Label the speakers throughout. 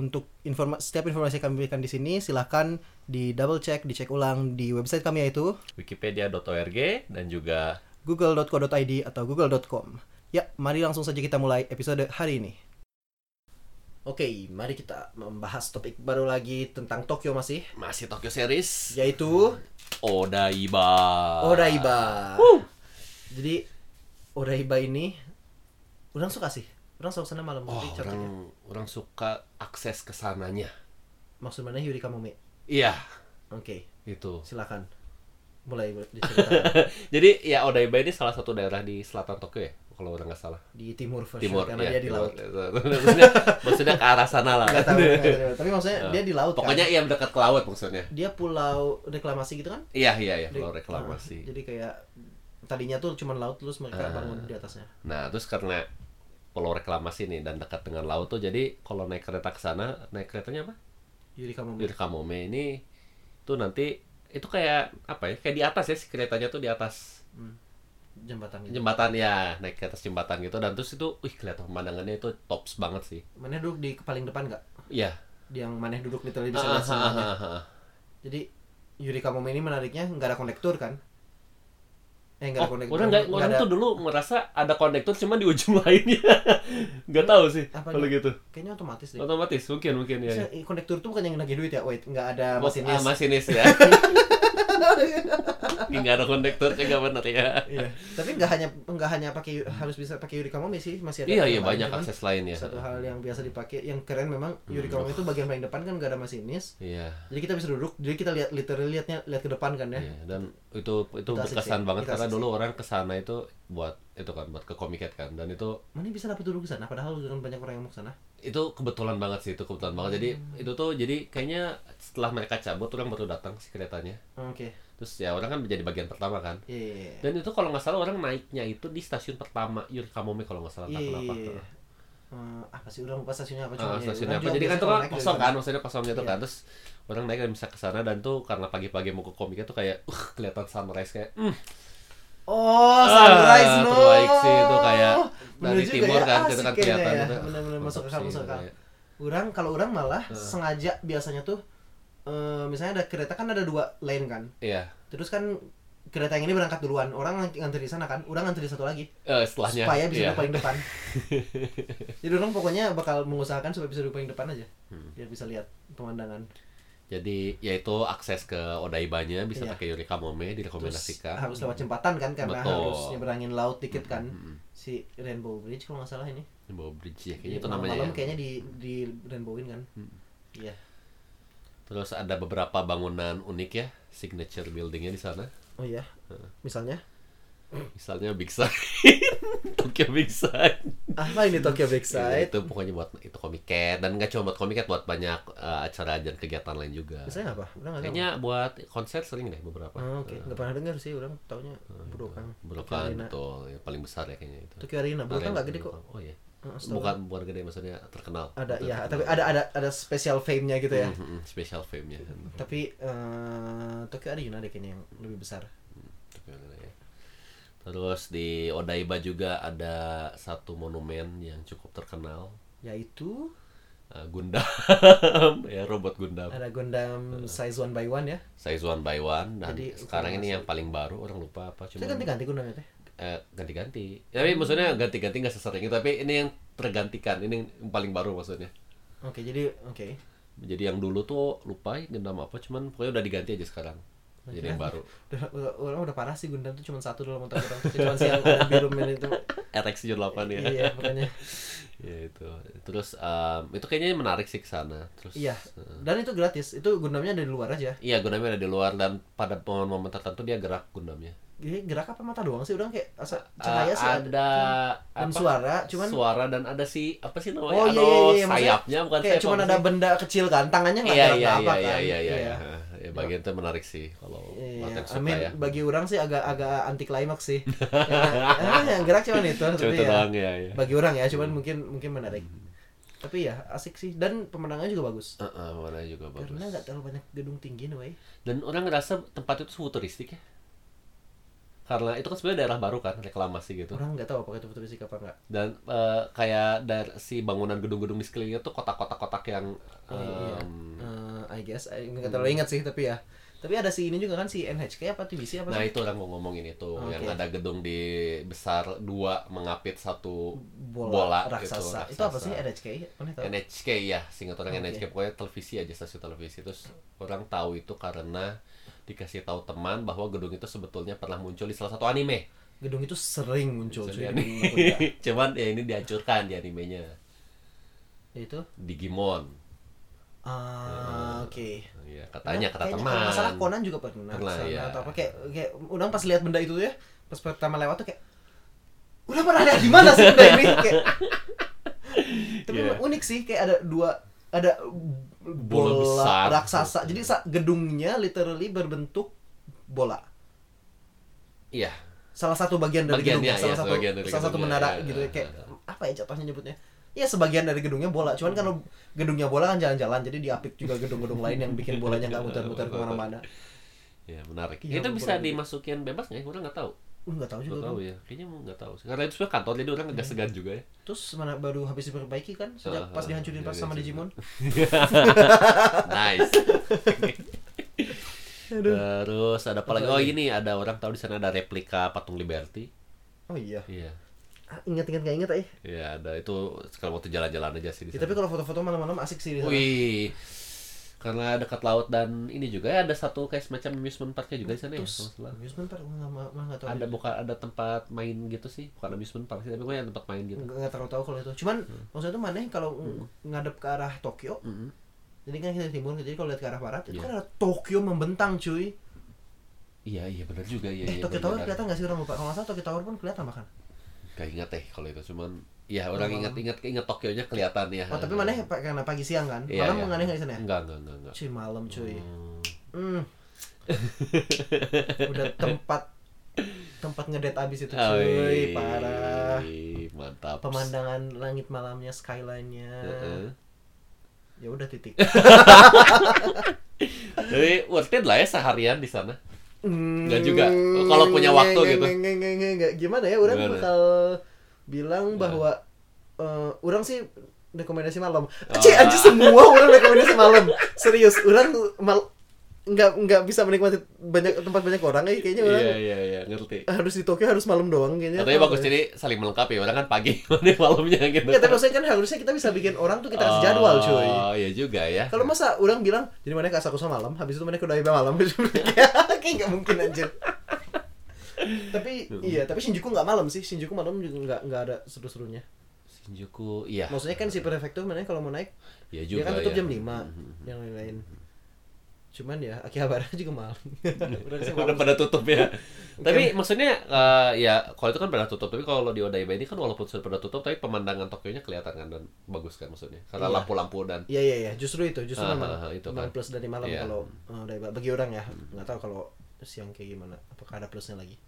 Speaker 1: untuk informa setiap informasi yang kami berikan di sini silahkan di double check, dicek ulang di website kami yaitu
Speaker 2: Wikipedia.org dan juga
Speaker 1: google.co.id atau google.com. Ya, mari langsung saja kita mulai episode hari ini. Oke, mari kita membahas topik baru lagi tentang Tokyo masih,
Speaker 2: masih Tokyo Series
Speaker 1: yaitu
Speaker 2: Ya. Odaiba. Ah.
Speaker 1: Oraiba.
Speaker 2: Wuh.
Speaker 1: Jadi Oraiba ini orang suka sih. Orang suka sana malam
Speaker 2: Oh,
Speaker 1: tapi contohnya.
Speaker 2: orang orang suka akses ke sananya.
Speaker 1: Maksud mana Yurika Momei?
Speaker 2: Iya,
Speaker 1: Oke,
Speaker 2: itu.
Speaker 1: silakan. Mulai diceritakan
Speaker 2: Jadi ya Odaiba ini salah satu daerah di selatan Tokyo ya, kalau orang nggak salah.
Speaker 1: di timur first
Speaker 2: Timur
Speaker 1: karena
Speaker 2: ya,
Speaker 1: dia di
Speaker 2: timur.
Speaker 1: laut.
Speaker 2: maksudnya, maksudnya ke arah sana lah.
Speaker 1: Nggak tahu, nggak tahu. tapi maksudnya dia di laut kan?
Speaker 2: Ah. Pokoknya iya dekat ke laut maksudnya.
Speaker 1: dia pulau reklamasi gitu kan?
Speaker 2: Iya iya iya, kalau
Speaker 1: Jadi-
Speaker 2: reklamasi.
Speaker 1: Ah, jadi kayak tadinya tuh cuma laut terus mereka
Speaker 2: Ah.
Speaker 1: bangun di atasnya.
Speaker 2: Nah, terus karena pulau reklamasi nih dan dekat dengan laut tuh jadi kalau naik kereta ke sana, naik keretanya apa?
Speaker 1: Yurika Momei.
Speaker 2: Dari Kamome ini tuh nanti itu kayak apa ya? Kayak di atas ya si keretanya tuh di atas
Speaker 1: Hmm. jembatan gitu.
Speaker 2: jembatan ya, naik ke atas jembatan gitu dan terus itu wih kelihatan pemandangannya itu tops banget sih.
Speaker 1: Maneh duduk di paling depan nggak?
Speaker 2: Iya.
Speaker 1: Yang maneh duduk literally bisa
Speaker 2: Ah,
Speaker 1: lihat
Speaker 2: ah,
Speaker 1: semuanya.
Speaker 2: ah, ah.
Speaker 1: Jadi Yurika Momei ini menariknya nggak ada konektor kan? Eh nggak ada
Speaker 2: Oh,
Speaker 1: konektor.
Speaker 2: orang nggak
Speaker 1: nggak
Speaker 2: orang
Speaker 1: ada-
Speaker 2: tuh dulu merasa ada konektor cuma di ujung lainnya. nggak tahu sih
Speaker 1: Apanya?
Speaker 2: kalau gitu.
Speaker 1: kayaknya otomatis deh.
Speaker 2: Otomatis mungkin mungkin ya.
Speaker 1: Maksudnya, eh, Konektor tuh bukan yang nagih duit ya, wait nggak ada
Speaker 2: Ah,
Speaker 1: masinis.
Speaker 2: masinis ya. Nggak ada kondektornya nggak bener ya.
Speaker 1: Iya. Tapi nggak hanya nggak hanya pakai harus bisa pakai Yurika Momei sih masih ada.
Speaker 2: Hmm. Iya
Speaker 1: yang
Speaker 2: iya
Speaker 1: lain,
Speaker 2: banyak
Speaker 1: cuman
Speaker 2: akses lain ya.
Speaker 1: kan? Satu hal yang biasa dipakai, yang keren memang Yurika
Speaker 2: Hmm.
Speaker 1: Momei itu bagian paling depan kan nggak ada masinis.
Speaker 2: Iya.
Speaker 1: Jadi kita bisa duduk, jadi kita lihat literally lihatnya lihat ke depan kan ya.
Speaker 2: iya. Dan itu itu
Speaker 1: Itu asik
Speaker 2: berkesan
Speaker 1: sih,
Speaker 2: banget
Speaker 1: itu
Speaker 2: karena
Speaker 1: asik
Speaker 2: dulu orang kesana itu buat itu kan buat ke komiket kan dan itu
Speaker 1: Mana bisa dapat duduk ke sana padahal dengan banyak orang yang mau ke sana.
Speaker 2: itu kebetulan banget sih itu kebetulan banget jadi
Speaker 1: Hmm.
Speaker 2: itu tuh jadi kayaknya setelah mereka cabut orang baru datang si keretanya
Speaker 1: Oke.
Speaker 2: terus ya orang kan menjadi bagian pertama kan
Speaker 1: Iya, Iya. iya.
Speaker 2: dan itu kalau nggak salah orang naiknya itu di stasiun pertama Yurikamome kalau nggak salah
Speaker 1: Iya.
Speaker 2: entah
Speaker 1: iya,
Speaker 2: kenapa
Speaker 1: iya. Eh, apa sih udah lupa stasiunnya apa
Speaker 2: Ah,
Speaker 1: ya,
Speaker 2: stasiunnya
Speaker 1: orang
Speaker 2: apa
Speaker 1: juga
Speaker 2: jadi kan
Speaker 1: biasa
Speaker 2: tuh
Speaker 1: kalau
Speaker 2: kan
Speaker 1: naik dari
Speaker 2: kosong
Speaker 1: sana.
Speaker 2: kan maksudnya kosongnya tuh
Speaker 1: Iya.
Speaker 2: kan terus orang naik dan bisa ke sana dan tuh karena pagi-pagi mau ke komiket tuh kayak uh kelihatan sunrise kayak mm,
Speaker 1: Oh, sunrise
Speaker 2: Ah,
Speaker 1: no.
Speaker 2: terbaik sih itu kayak
Speaker 1: Bener
Speaker 2: dari
Speaker 1: juga
Speaker 2: timur
Speaker 1: ya,
Speaker 2: kan
Speaker 1: asik
Speaker 2: itu kan
Speaker 1: kayaknya
Speaker 2: kelihatan
Speaker 1: ya.
Speaker 2: gitu.
Speaker 1: Bener-bener masuk
Speaker 2: Mantap
Speaker 1: akal,
Speaker 2: sih, iya.
Speaker 1: masuk akal.
Speaker 2: kayak. Eh.
Speaker 1: Orang kalau orang malah sengaja biasanya tuh eh, misalnya ada kereta kan ada dua lane kan.
Speaker 2: Iya.
Speaker 1: Terus kan kereta yang ini berangkat duluan, orang ng- ngantri di sana kan, orang ngantri satu lagi.
Speaker 2: Eh, setelahnya
Speaker 1: supaya bisa
Speaker 2: iya.
Speaker 1: duduk paling depan. Jadi orang pokoknya bakal mengusahakan supaya bisa duduk paling depan aja.
Speaker 2: Hmm.
Speaker 1: Biar bisa lihat pemandangan.
Speaker 2: Jadi yaitu akses ke Odaibanya bisa
Speaker 1: Iya.
Speaker 2: pakai Yurika Mome
Speaker 1: Terus
Speaker 2: direkomendasikan.
Speaker 1: harus lewat jembatan kan karena
Speaker 2: Betul. Hmm,
Speaker 1: harus nyeberangin laut dikit kan. Si Rainbow Bridge kalau nggak salah ini.
Speaker 2: Bawa bridge ya kayaknya
Speaker 1: iya,
Speaker 2: itu namanya.
Speaker 1: Malam-malam
Speaker 2: ya. Hmm.
Speaker 1: kayaknya di di Rainbowin kan. Iya.
Speaker 2: Terus ada beberapa bangunan unik ya signature buildingnya di sana.
Speaker 1: Oh iya. Misalnya
Speaker 2: Misalnya Big Sign, Tokyo Big Sign.
Speaker 1: apa Ah, ini Tokyo
Speaker 2: Iya,
Speaker 1: Backside?
Speaker 2: itu pokoknya buat itu komiket dan nggak cuma buat komiket buat banyak eh, acara dan kegiatan lain juga.
Speaker 1: Misalnya apa? Udah ya? nggak tahu.
Speaker 2: Kayaknya buat konser sering deh beberapa.
Speaker 1: Oh, Oke, ya. nggak pernah dengar sih orang taunya Budokan.
Speaker 2: Budokan
Speaker 1: Tokyo Arena.
Speaker 2: betul, yang paling besar ya kayaknya itu.
Speaker 1: Tokyo Arena, Budokan
Speaker 2: Arena
Speaker 1: kan nggak gede kok.
Speaker 2: Budokan. Oh iya.
Speaker 1: Heeh, setahu
Speaker 2: Bukan bukan gede maksudnya terkenal.
Speaker 1: Ada
Speaker 2: Itu
Speaker 1: ya,
Speaker 2: terkenal.
Speaker 1: tapi ada ada ada special fame-nya gitu ya.
Speaker 2: Mhm, special fame-nya.
Speaker 1: Tapi eh Tokyo Arena deh kayaknya yang lebih besar.
Speaker 2: Tokyo Arena ya. Terus di Odaiba juga ada satu monumen yang cukup terkenal.
Speaker 1: Yaitu
Speaker 2: Eh, Gundam ya robot Gundam
Speaker 1: ada
Speaker 2: Eh,
Speaker 1: Gundam size one by one ya.
Speaker 2: size one by one dan
Speaker 1: Jadi,
Speaker 2: sekarang ini yang paling baru orang lupa apa cuma
Speaker 1: Saya kan ganti-ganti Gundamnya teh.
Speaker 2: eh, ganti-ganti tapi maksudnya ganti-ganti nggak sesering itu tapi ini yang tergantikan ini yang paling baru maksudnya
Speaker 1: Oke, jadi oke.
Speaker 2: Jadi yang dulu tuh lupa ya gendam apa, cuman pokoknya udah diganti aja sekarang. Jadi yang baru.
Speaker 1: Udah, udah, orang udah parah sih Gundam tuh cuma satu dalam otak orang. Cuma si yang warna biru men itu.
Speaker 2: RX 78 ya.
Speaker 1: iya, makanya.
Speaker 2: ya itu. Terus em, itu kayaknya menarik sih ke sana. Terus eh,
Speaker 1: Iya. Dan itu gratis. Itu Gundamnya dari luar aja.
Speaker 2: Iya, Gundamnya ada di luar dan pada momen-momen tertentu dia gerak Gundamnya.
Speaker 1: Ini gerak apa mata doang sih? Udah kayak asa
Speaker 2: Ah,
Speaker 1: cahaya sih
Speaker 2: ada,
Speaker 1: ada. Dan
Speaker 2: apa?
Speaker 1: suara, cuman
Speaker 2: suara dan ada si apa sih namanya?
Speaker 1: Oh, iya,
Speaker 2: Aduh,
Speaker 1: iya, iya, maksudnya
Speaker 2: sayapnya bukan
Speaker 1: kayak
Speaker 2: sayap,
Speaker 1: cuman
Speaker 2: apa
Speaker 1: ada
Speaker 2: sih?
Speaker 1: benda kecil kan, tangannya nggak
Speaker 2: Iya
Speaker 1: gerak
Speaker 2: iya iya
Speaker 1: apa-apa
Speaker 2: iya
Speaker 1: kan.
Speaker 2: iya iya.
Speaker 1: Iya.
Speaker 2: Ya, bagian itu menarik sih kalau
Speaker 1: Iya,
Speaker 2: Matek
Speaker 1: I
Speaker 2: suka
Speaker 1: mean,
Speaker 2: ya.
Speaker 1: bagi orang sih agak agak anti klimaks sih. Yang- ah, yang gerak cuman itu,
Speaker 2: Cuma
Speaker 1: tapi
Speaker 2: itu
Speaker 1: ya,
Speaker 2: doang ya ya.
Speaker 1: bagi orang ya, cuman mungkin mungkin menarik. Tapi ya asik sih dan pemenangnya juga bagus.
Speaker 2: Eh, eh, warna juga bagus.
Speaker 1: Karena nggak terlalu banyak gedung tinggi nih, wey.
Speaker 2: Dan orang ngerasa tempat itu futuristik ya. Karena itu kan sebenarnya daerah baru kan reklamasi gitu.
Speaker 1: Orang nggak tahu apakah itu futuristik apa nggak.
Speaker 2: Dan eh, kayak dari si bangunan gedung-gedung di sekelilingnya tuh kotak-kotak-kotak yang
Speaker 1: Oh, iya.
Speaker 2: em,
Speaker 1: Eh, I guess, I nggak terlalu ingat sih tapi ya. Tapi ada si ini juga kan si NHK apa TBC apa
Speaker 2: Nah
Speaker 1: sih?
Speaker 2: itu orang mau ngomongin itu
Speaker 1: Oke.
Speaker 2: yang ada gedung di besar dua mengapit satu bola
Speaker 1: bola,
Speaker 2: gitu,
Speaker 1: raksasa. Itu
Speaker 2: raksasa.
Speaker 1: apa sih NHK? Mana tahu?
Speaker 2: NHK ya, singkat orang
Speaker 1: Oke.
Speaker 2: NHK pokoknya televisi aja stasiun televisi terus orang tahu itu karena dikasih tahu teman bahwa gedung itu sebetulnya pernah muncul di salah satu anime.
Speaker 1: Gedung itu sering muncul cuy.
Speaker 2: Jadi
Speaker 1: di
Speaker 2: anime.
Speaker 1: gedung iya. Nagoya.
Speaker 2: Cuman ya ini dihancurkan di animenya
Speaker 1: Itu
Speaker 2: Digimon. Iya,
Speaker 1: ah oke.
Speaker 2: Ya, katanya kata
Speaker 1: Iya, Kayaknya
Speaker 2: teman.
Speaker 1: kalau masalah Conan juga pernah,
Speaker 2: Pernah,
Speaker 1: kesana
Speaker 2: iya.
Speaker 1: atau apa kayak kayak udang pas lihat benda itu tuh ya pas pertama lewat tuh kayak udah pernah lihat di mana sih benda ini kayak tapi
Speaker 2: Iya.
Speaker 1: emang unik sih kayak ada dua ada bola,
Speaker 2: Bola besar.
Speaker 1: raksasa jadi sa- gedungnya literally berbentuk bola
Speaker 2: Iya.
Speaker 1: salah satu bagian dari
Speaker 2: Bagiannya,
Speaker 1: gedungnya salah
Speaker 2: iya,
Speaker 1: satu
Speaker 2: sebagian dari
Speaker 1: salah satu
Speaker 2: gedungnya,
Speaker 1: menara
Speaker 2: iya,
Speaker 1: gitu ya
Speaker 2: iya,
Speaker 1: kayak
Speaker 2: iya.
Speaker 1: apa ya contohnya nyebutnya ya sebagian dari gedungnya bola cuman kalau gedungnya bola kan jalan-jalan jadi diapit juga gedung-gedung lain yang bikin bolanya nggak muter-muter kemana-mana
Speaker 2: Ya, menarik.
Speaker 1: Iya,
Speaker 2: itu bisa
Speaker 1: bener.
Speaker 2: dimasukin bebas nggak? ya? Orang nggak tahu.
Speaker 1: Lu nggak tahu Iya. juga
Speaker 2: Nggak
Speaker 1: Bang.
Speaker 2: tahu ya. Kayaknya mau nggak tahu. sih. Karena itu sebenarnya kantor jadi orang agak segan juga ya.
Speaker 1: Terus mana baru habis diperbaiki kan sejak
Speaker 2: Ah,
Speaker 1: pas
Speaker 2: ah,
Speaker 1: dihancurin pas
Speaker 2: iya,
Speaker 1: sama
Speaker 2: iya,
Speaker 1: Digimon.
Speaker 2: nice. Terus ada apa lagi? Oh ini ada orang tahu di sana ada replika patung Liberty.
Speaker 1: Oh iya.
Speaker 2: Iya.
Speaker 1: Ah, Ingat-ingat nggak ingat eh.
Speaker 2: Iya ada itu sekarang waktu jalan-jalan aja sih di
Speaker 1: Ya,
Speaker 2: sana.
Speaker 1: tapi kalau foto-foto malam-malam asik sih. di
Speaker 2: Oh
Speaker 1: sana.
Speaker 2: Wih. Karena dekat laut dan ini juga ya, ada satu kayak semacam amusement parknya juga di sana ya. kalau
Speaker 1: Terus
Speaker 2: nggak salah.
Speaker 1: amusement park gua nggak ma- malah nggak tahu. ya.
Speaker 2: Ada bukan ada tempat main gitu sih, bukan amusement park sih, tapi pokoknya ada tempat main gitu.
Speaker 1: nggak nggak terlalu tahu kalau itu. Cuman
Speaker 2: Hmm.
Speaker 1: maksudnya tuh mana kalau ng- ngadep ke arah Tokyo,
Speaker 2: Mm-mm.
Speaker 1: jadi kan kita timur, jadi kalau lihat ke arah barat, itu
Speaker 2: Iya.
Speaker 1: kan ada Tokyo membentang cuy.
Speaker 2: Iya iya benar juga ya.
Speaker 1: eh
Speaker 2: iya,
Speaker 1: Tokyo Tower
Speaker 2: benar.
Speaker 1: kelihatan nggak sih orang lupa? Kalau nggak salah Tokyo Tower pun kelihatan bahkan.
Speaker 2: Gak ingat deh kalau itu cuman ya orang
Speaker 1: Malam.
Speaker 2: ingat-ingat ingat Tokyo nya kelihatan ya.
Speaker 1: Oh tapi mana pa- karena pagi siang kan?
Speaker 2: Iya,
Speaker 1: Malam
Speaker 2: iya.
Speaker 1: menganeh nggak di sana? ya?
Speaker 2: Enggak enggak enggak enggak.
Speaker 1: Cuy malam cuy.
Speaker 2: Hmm.
Speaker 1: Hmm. Udah tempat tempat ngedate abis itu
Speaker 2: Oh, Oi,
Speaker 1: cuy, parah.
Speaker 2: Mantap.
Speaker 1: Pemandangan langit malamnya, skyline-nya.
Speaker 2: Heeh.
Speaker 1: Ya udah titik.
Speaker 2: Jadi worth it lah ya seharian di sana.
Speaker 1: Enggak
Speaker 2: juga. Oh, Kalau
Speaker 1: Hmm,
Speaker 2: punya waktu gitu.
Speaker 1: Gimana ya? Orang
Speaker 2: Gimana? Nah.
Speaker 1: bakal bilang bahwa eh, orang sih rekomendasi malam.
Speaker 2: Ah.
Speaker 1: Cih, aja semua orang rekomendasi malam. Serius, orang mal nggak nggak bisa menikmati banyak tempat banyak orang eh. kayaknya orang
Speaker 2: Iya iya iya ngerti.
Speaker 1: harus di Tokyo harus malam doang kayaknya.
Speaker 2: Katanya bagus
Speaker 1: Apa ya?
Speaker 2: jadi saling melengkapi. Orang kan pagi, mana malamnya gitu.
Speaker 1: Nggak, tapi maksudnya kan harusnya kita bisa bikin orang tuh kita kasih jadwal cuy.
Speaker 2: Oh iya juga ya.
Speaker 1: Kalau masa orang bilang, jadi mana ke Asakusa malam, habis itu mana ke Odaiba malam. Kayak nggak mungkin anjir. tapi iya, tapi Shinjuku nggak malam sih. Shinjuku malam juga nggak nggak ada seru-serunya.
Speaker 2: Shinjuku iya.
Speaker 1: Maksudnya kan si prefektur mana kalau mau naik,
Speaker 2: Iya
Speaker 1: dia
Speaker 2: juga
Speaker 1: kan tutup
Speaker 2: ya.
Speaker 1: jam 5 yang lain-lain. Cuman ya Akihabara juga malam. Udah sih malam.
Speaker 2: udah pada tutup ya. tapi maksudnya eh, ya kalau itu kan pada tutup, tapi kalau di Odaiba ini kan walaupun sudah pada tutup tapi pemandangan Tokyo-nya kelihatan kan dan bagus kan maksudnya. Karena
Speaker 1: Iya.
Speaker 2: lampu-lampu dan
Speaker 1: Iya iya iya, justru itu, justru
Speaker 2: Ah,
Speaker 1: memang
Speaker 2: ah, ah, itu
Speaker 1: memang
Speaker 2: kan.
Speaker 1: plus dari malam
Speaker 2: Iya.
Speaker 1: kalau eh, Odaiba bagi orang ya. Nggak tahu kalau siang kayak gimana, apakah ada plusnya lagi.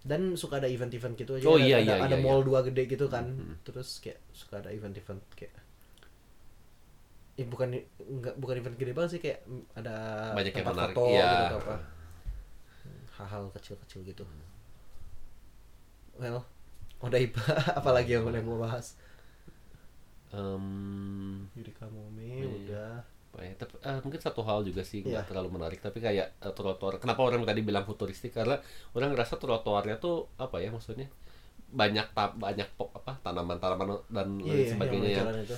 Speaker 1: Dan suka ada event-event gitu aja.
Speaker 2: Oh,
Speaker 1: ada,
Speaker 2: iya,
Speaker 1: ada,
Speaker 2: iya,
Speaker 1: ada
Speaker 2: iya, Mm-hmm.
Speaker 1: mall dua gede gitu kan. Terus kayak suka ada event-event kayak Ya, bukan nggak bukan event gede banget sih kayak mm, ada
Speaker 2: Banyak yang
Speaker 1: tempat
Speaker 2: menarik,
Speaker 1: foto
Speaker 2: iya.
Speaker 1: gitu atau apa. Hal-hal kecil-kecil gitu.
Speaker 2: Hmm.
Speaker 1: Well, Odaiba apalagi yang boleh mau bahas.
Speaker 2: em,
Speaker 1: Yuri Kamome
Speaker 2: Iya.
Speaker 1: udah
Speaker 2: apa ya, tapi, eh, mungkin satu hal juga sih
Speaker 1: Iya.
Speaker 2: nggak terlalu menarik tapi kayak eh, trotoar kenapa orang tadi bilang futuristik karena orang ngerasa trotoarnya tuh apa ya maksudnya banyak ta- banyak po- apa tanaman-tanaman dan lain
Speaker 1: Iya,
Speaker 2: sebagainya
Speaker 1: yang
Speaker 2: yang
Speaker 1: jalan itu.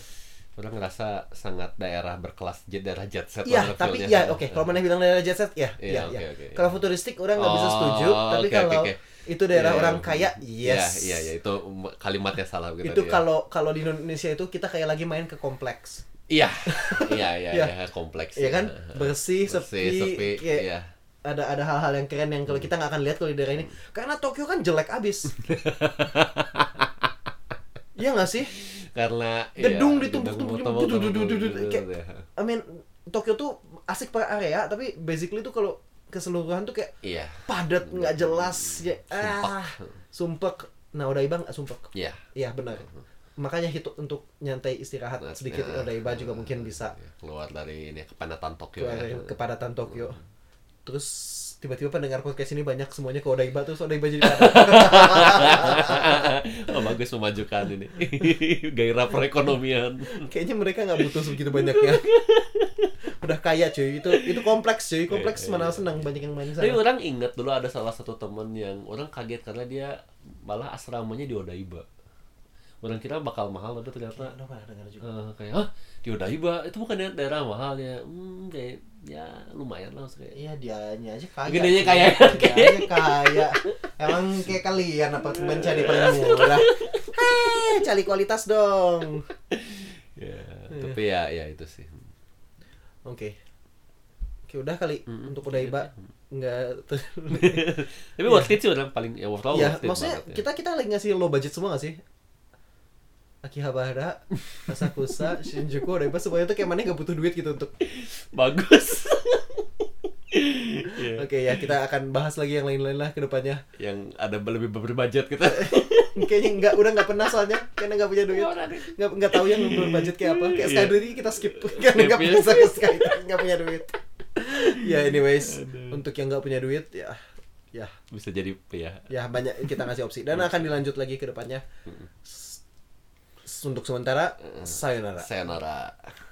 Speaker 2: orang ngerasa sangat daerah berkelas jet daerah jet set
Speaker 1: Iya,
Speaker 2: banget
Speaker 1: tapi ya
Speaker 2: feel-nya.
Speaker 1: oke. Kalau mana bilang daerah jet set, ya,
Speaker 2: Iya,
Speaker 1: iya,
Speaker 2: oke,
Speaker 1: iya.
Speaker 2: oke, iya.
Speaker 1: Kalau futuristik orang nggak bisa
Speaker 2: Oh,
Speaker 1: setuju, tapi
Speaker 2: oke,
Speaker 1: kalau
Speaker 2: oke, oke.
Speaker 1: itu daerah
Speaker 2: Iya,
Speaker 1: orang
Speaker 2: iya.
Speaker 1: kaya,
Speaker 2: Iya,
Speaker 1: yes.
Speaker 2: iya, iya, itu m- kalimatnya salah gitu.
Speaker 1: Itu kalau kalau di Indonesia itu kita kayak lagi main ke kompleks,
Speaker 2: Iya. Iya, iya,
Speaker 1: Iya.
Speaker 2: iya, kompleks.
Speaker 1: Iya kan? Bersih, sepi,
Speaker 2: sepi,
Speaker 1: kayak-
Speaker 2: iya. Hmm.
Speaker 1: ada ada hal-hal yang keren yang kalau kita nggak akan lihat kalau di daerah ini karena Tokyo kan jelek abis Iya nggak sih?
Speaker 2: karena
Speaker 1: Gedung
Speaker 2: iya,
Speaker 1: ditumpuk-tumpuk,
Speaker 2: tumpuk-tumpuk,
Speaker 1: duduk-duduk,
Speaker 2: tumpuk-tumpuk,
Speaker 1: duduk, kayak-
Speaker 2: iya.
Speaker 1: I mean Tokyo tuh asik per area tapi basically tuh kalau keseluruhan tuh kayak
Speaker 2: Iya.
Speaker 1: padat nggak jelas ya ah
Speaker 2: Sumpah.
Speaker 1: sumpek nah udah ibang nggak sumpek
Speaker 2: Iya.
Speaker 1: Iya benar. Makanya hitung untuk nyantai istirahat sedikit
Speaker 2: Nah,
Speaker 1: Odaiba juga
Speaker 2: nah,
Speaker 1: mungkin bisa
Speaker 2: iya. keluar dari ini kepadatan Tokyo
Speaker 1: keluar dari
Speaker 2: ya.
Speaker 1: kepadatan Tokyo. Terus tiba-tiba pendengar podcast ini banyak semuanya ke Odaiba terus Odaiba jadi padat.
Speaker 2: oh, bagus memajukan ini. Gairah perekonomian.
Speaker 1: Kayaknya mereka nggak butuh segitu banyaknya. Udah kaya cuy, itu itu kompleks cuy, kompleks
Speaker 2: Iya, iya,
Speaker 1: mana
Speaker 2: iya.
Speaker 1: senang banyak yang main di
Speaker 2: Tapi
Speaker 1: sana.
Speaker 2: orang ingat dulu ada salah satu temen yang orang kaget karena dia malah asramanya di Odaiba. Orang kira bakal mahal tapi ternyata
Speaker 1: Udah pernah dengar juga.
Speaker 2: eh, kayak ah di Odaiba itu bukan daerah mahal ya. Hmm, kayak ya lumayan lah maksudnya.
Speaker 1: Iya dianya aja kaya.
Speaker 2: Gedenya
Speaker 1: cuy.
Speaker 2: kaya.
Speaker 1: Dianya kaya. Emang kayak kalian apa mencari paling
Speaker 2: Iya,
Speaker 1: murah? Hei, cari kualitas dong.
Speaker 2: Ya,
Speaker 1: Iya.
Speaker 2: tapi ya ya itu sih.
Speaker 1: Oke. Oke, udah kali
Speaker 2: Mm-mm. Iya,
Speaker 1: untuk Odaiba enggak
Speaker 2: tapi worth it sih orang paling ya worth,
Speaker 1: ya,
Speaker 2: worth it
Speaker 1: maksudnya
Speaker 2: banget ya.
Speaker 1: kita kita lagi ngasih low budget semua gak sih? Akihabara, Asakusa, Shinjuku, Odaiba semuanya tuh kayak mana nggak butuh duit gitu untuk.
Speaker 2: bagus. Iya.
Speaker 1: Oke ya, kita akan bahas lagi yang lain-lain lah ke depannya.
Speaker 2: yang ada lebih gitu. berbudget kita.
Speaker 1: Kayaknya nggak udah nggak pernah soalnya karena nggak punya duit.
Speaker 2: Nggak pernah duit.
Speaker 1: Nggak nggak tahu yang budget kayak apa. Kayak
Speaker 2: Iya.
Speaker 1: Skydive ini kita skip karena nggak punya
Speaker 2: Skip, ya.
Speaker 1: sama sekali nggak punya duit. ya anyways, untuk yang nggak punya duit ya ya
Speaker 2: Bisa jadi ya.
Speaker 1: ya banyak kita ngasih opsi dan akan dilanjut lagi ke depannya S- untuk sementara sayonara
Speaker 2: Sayonara.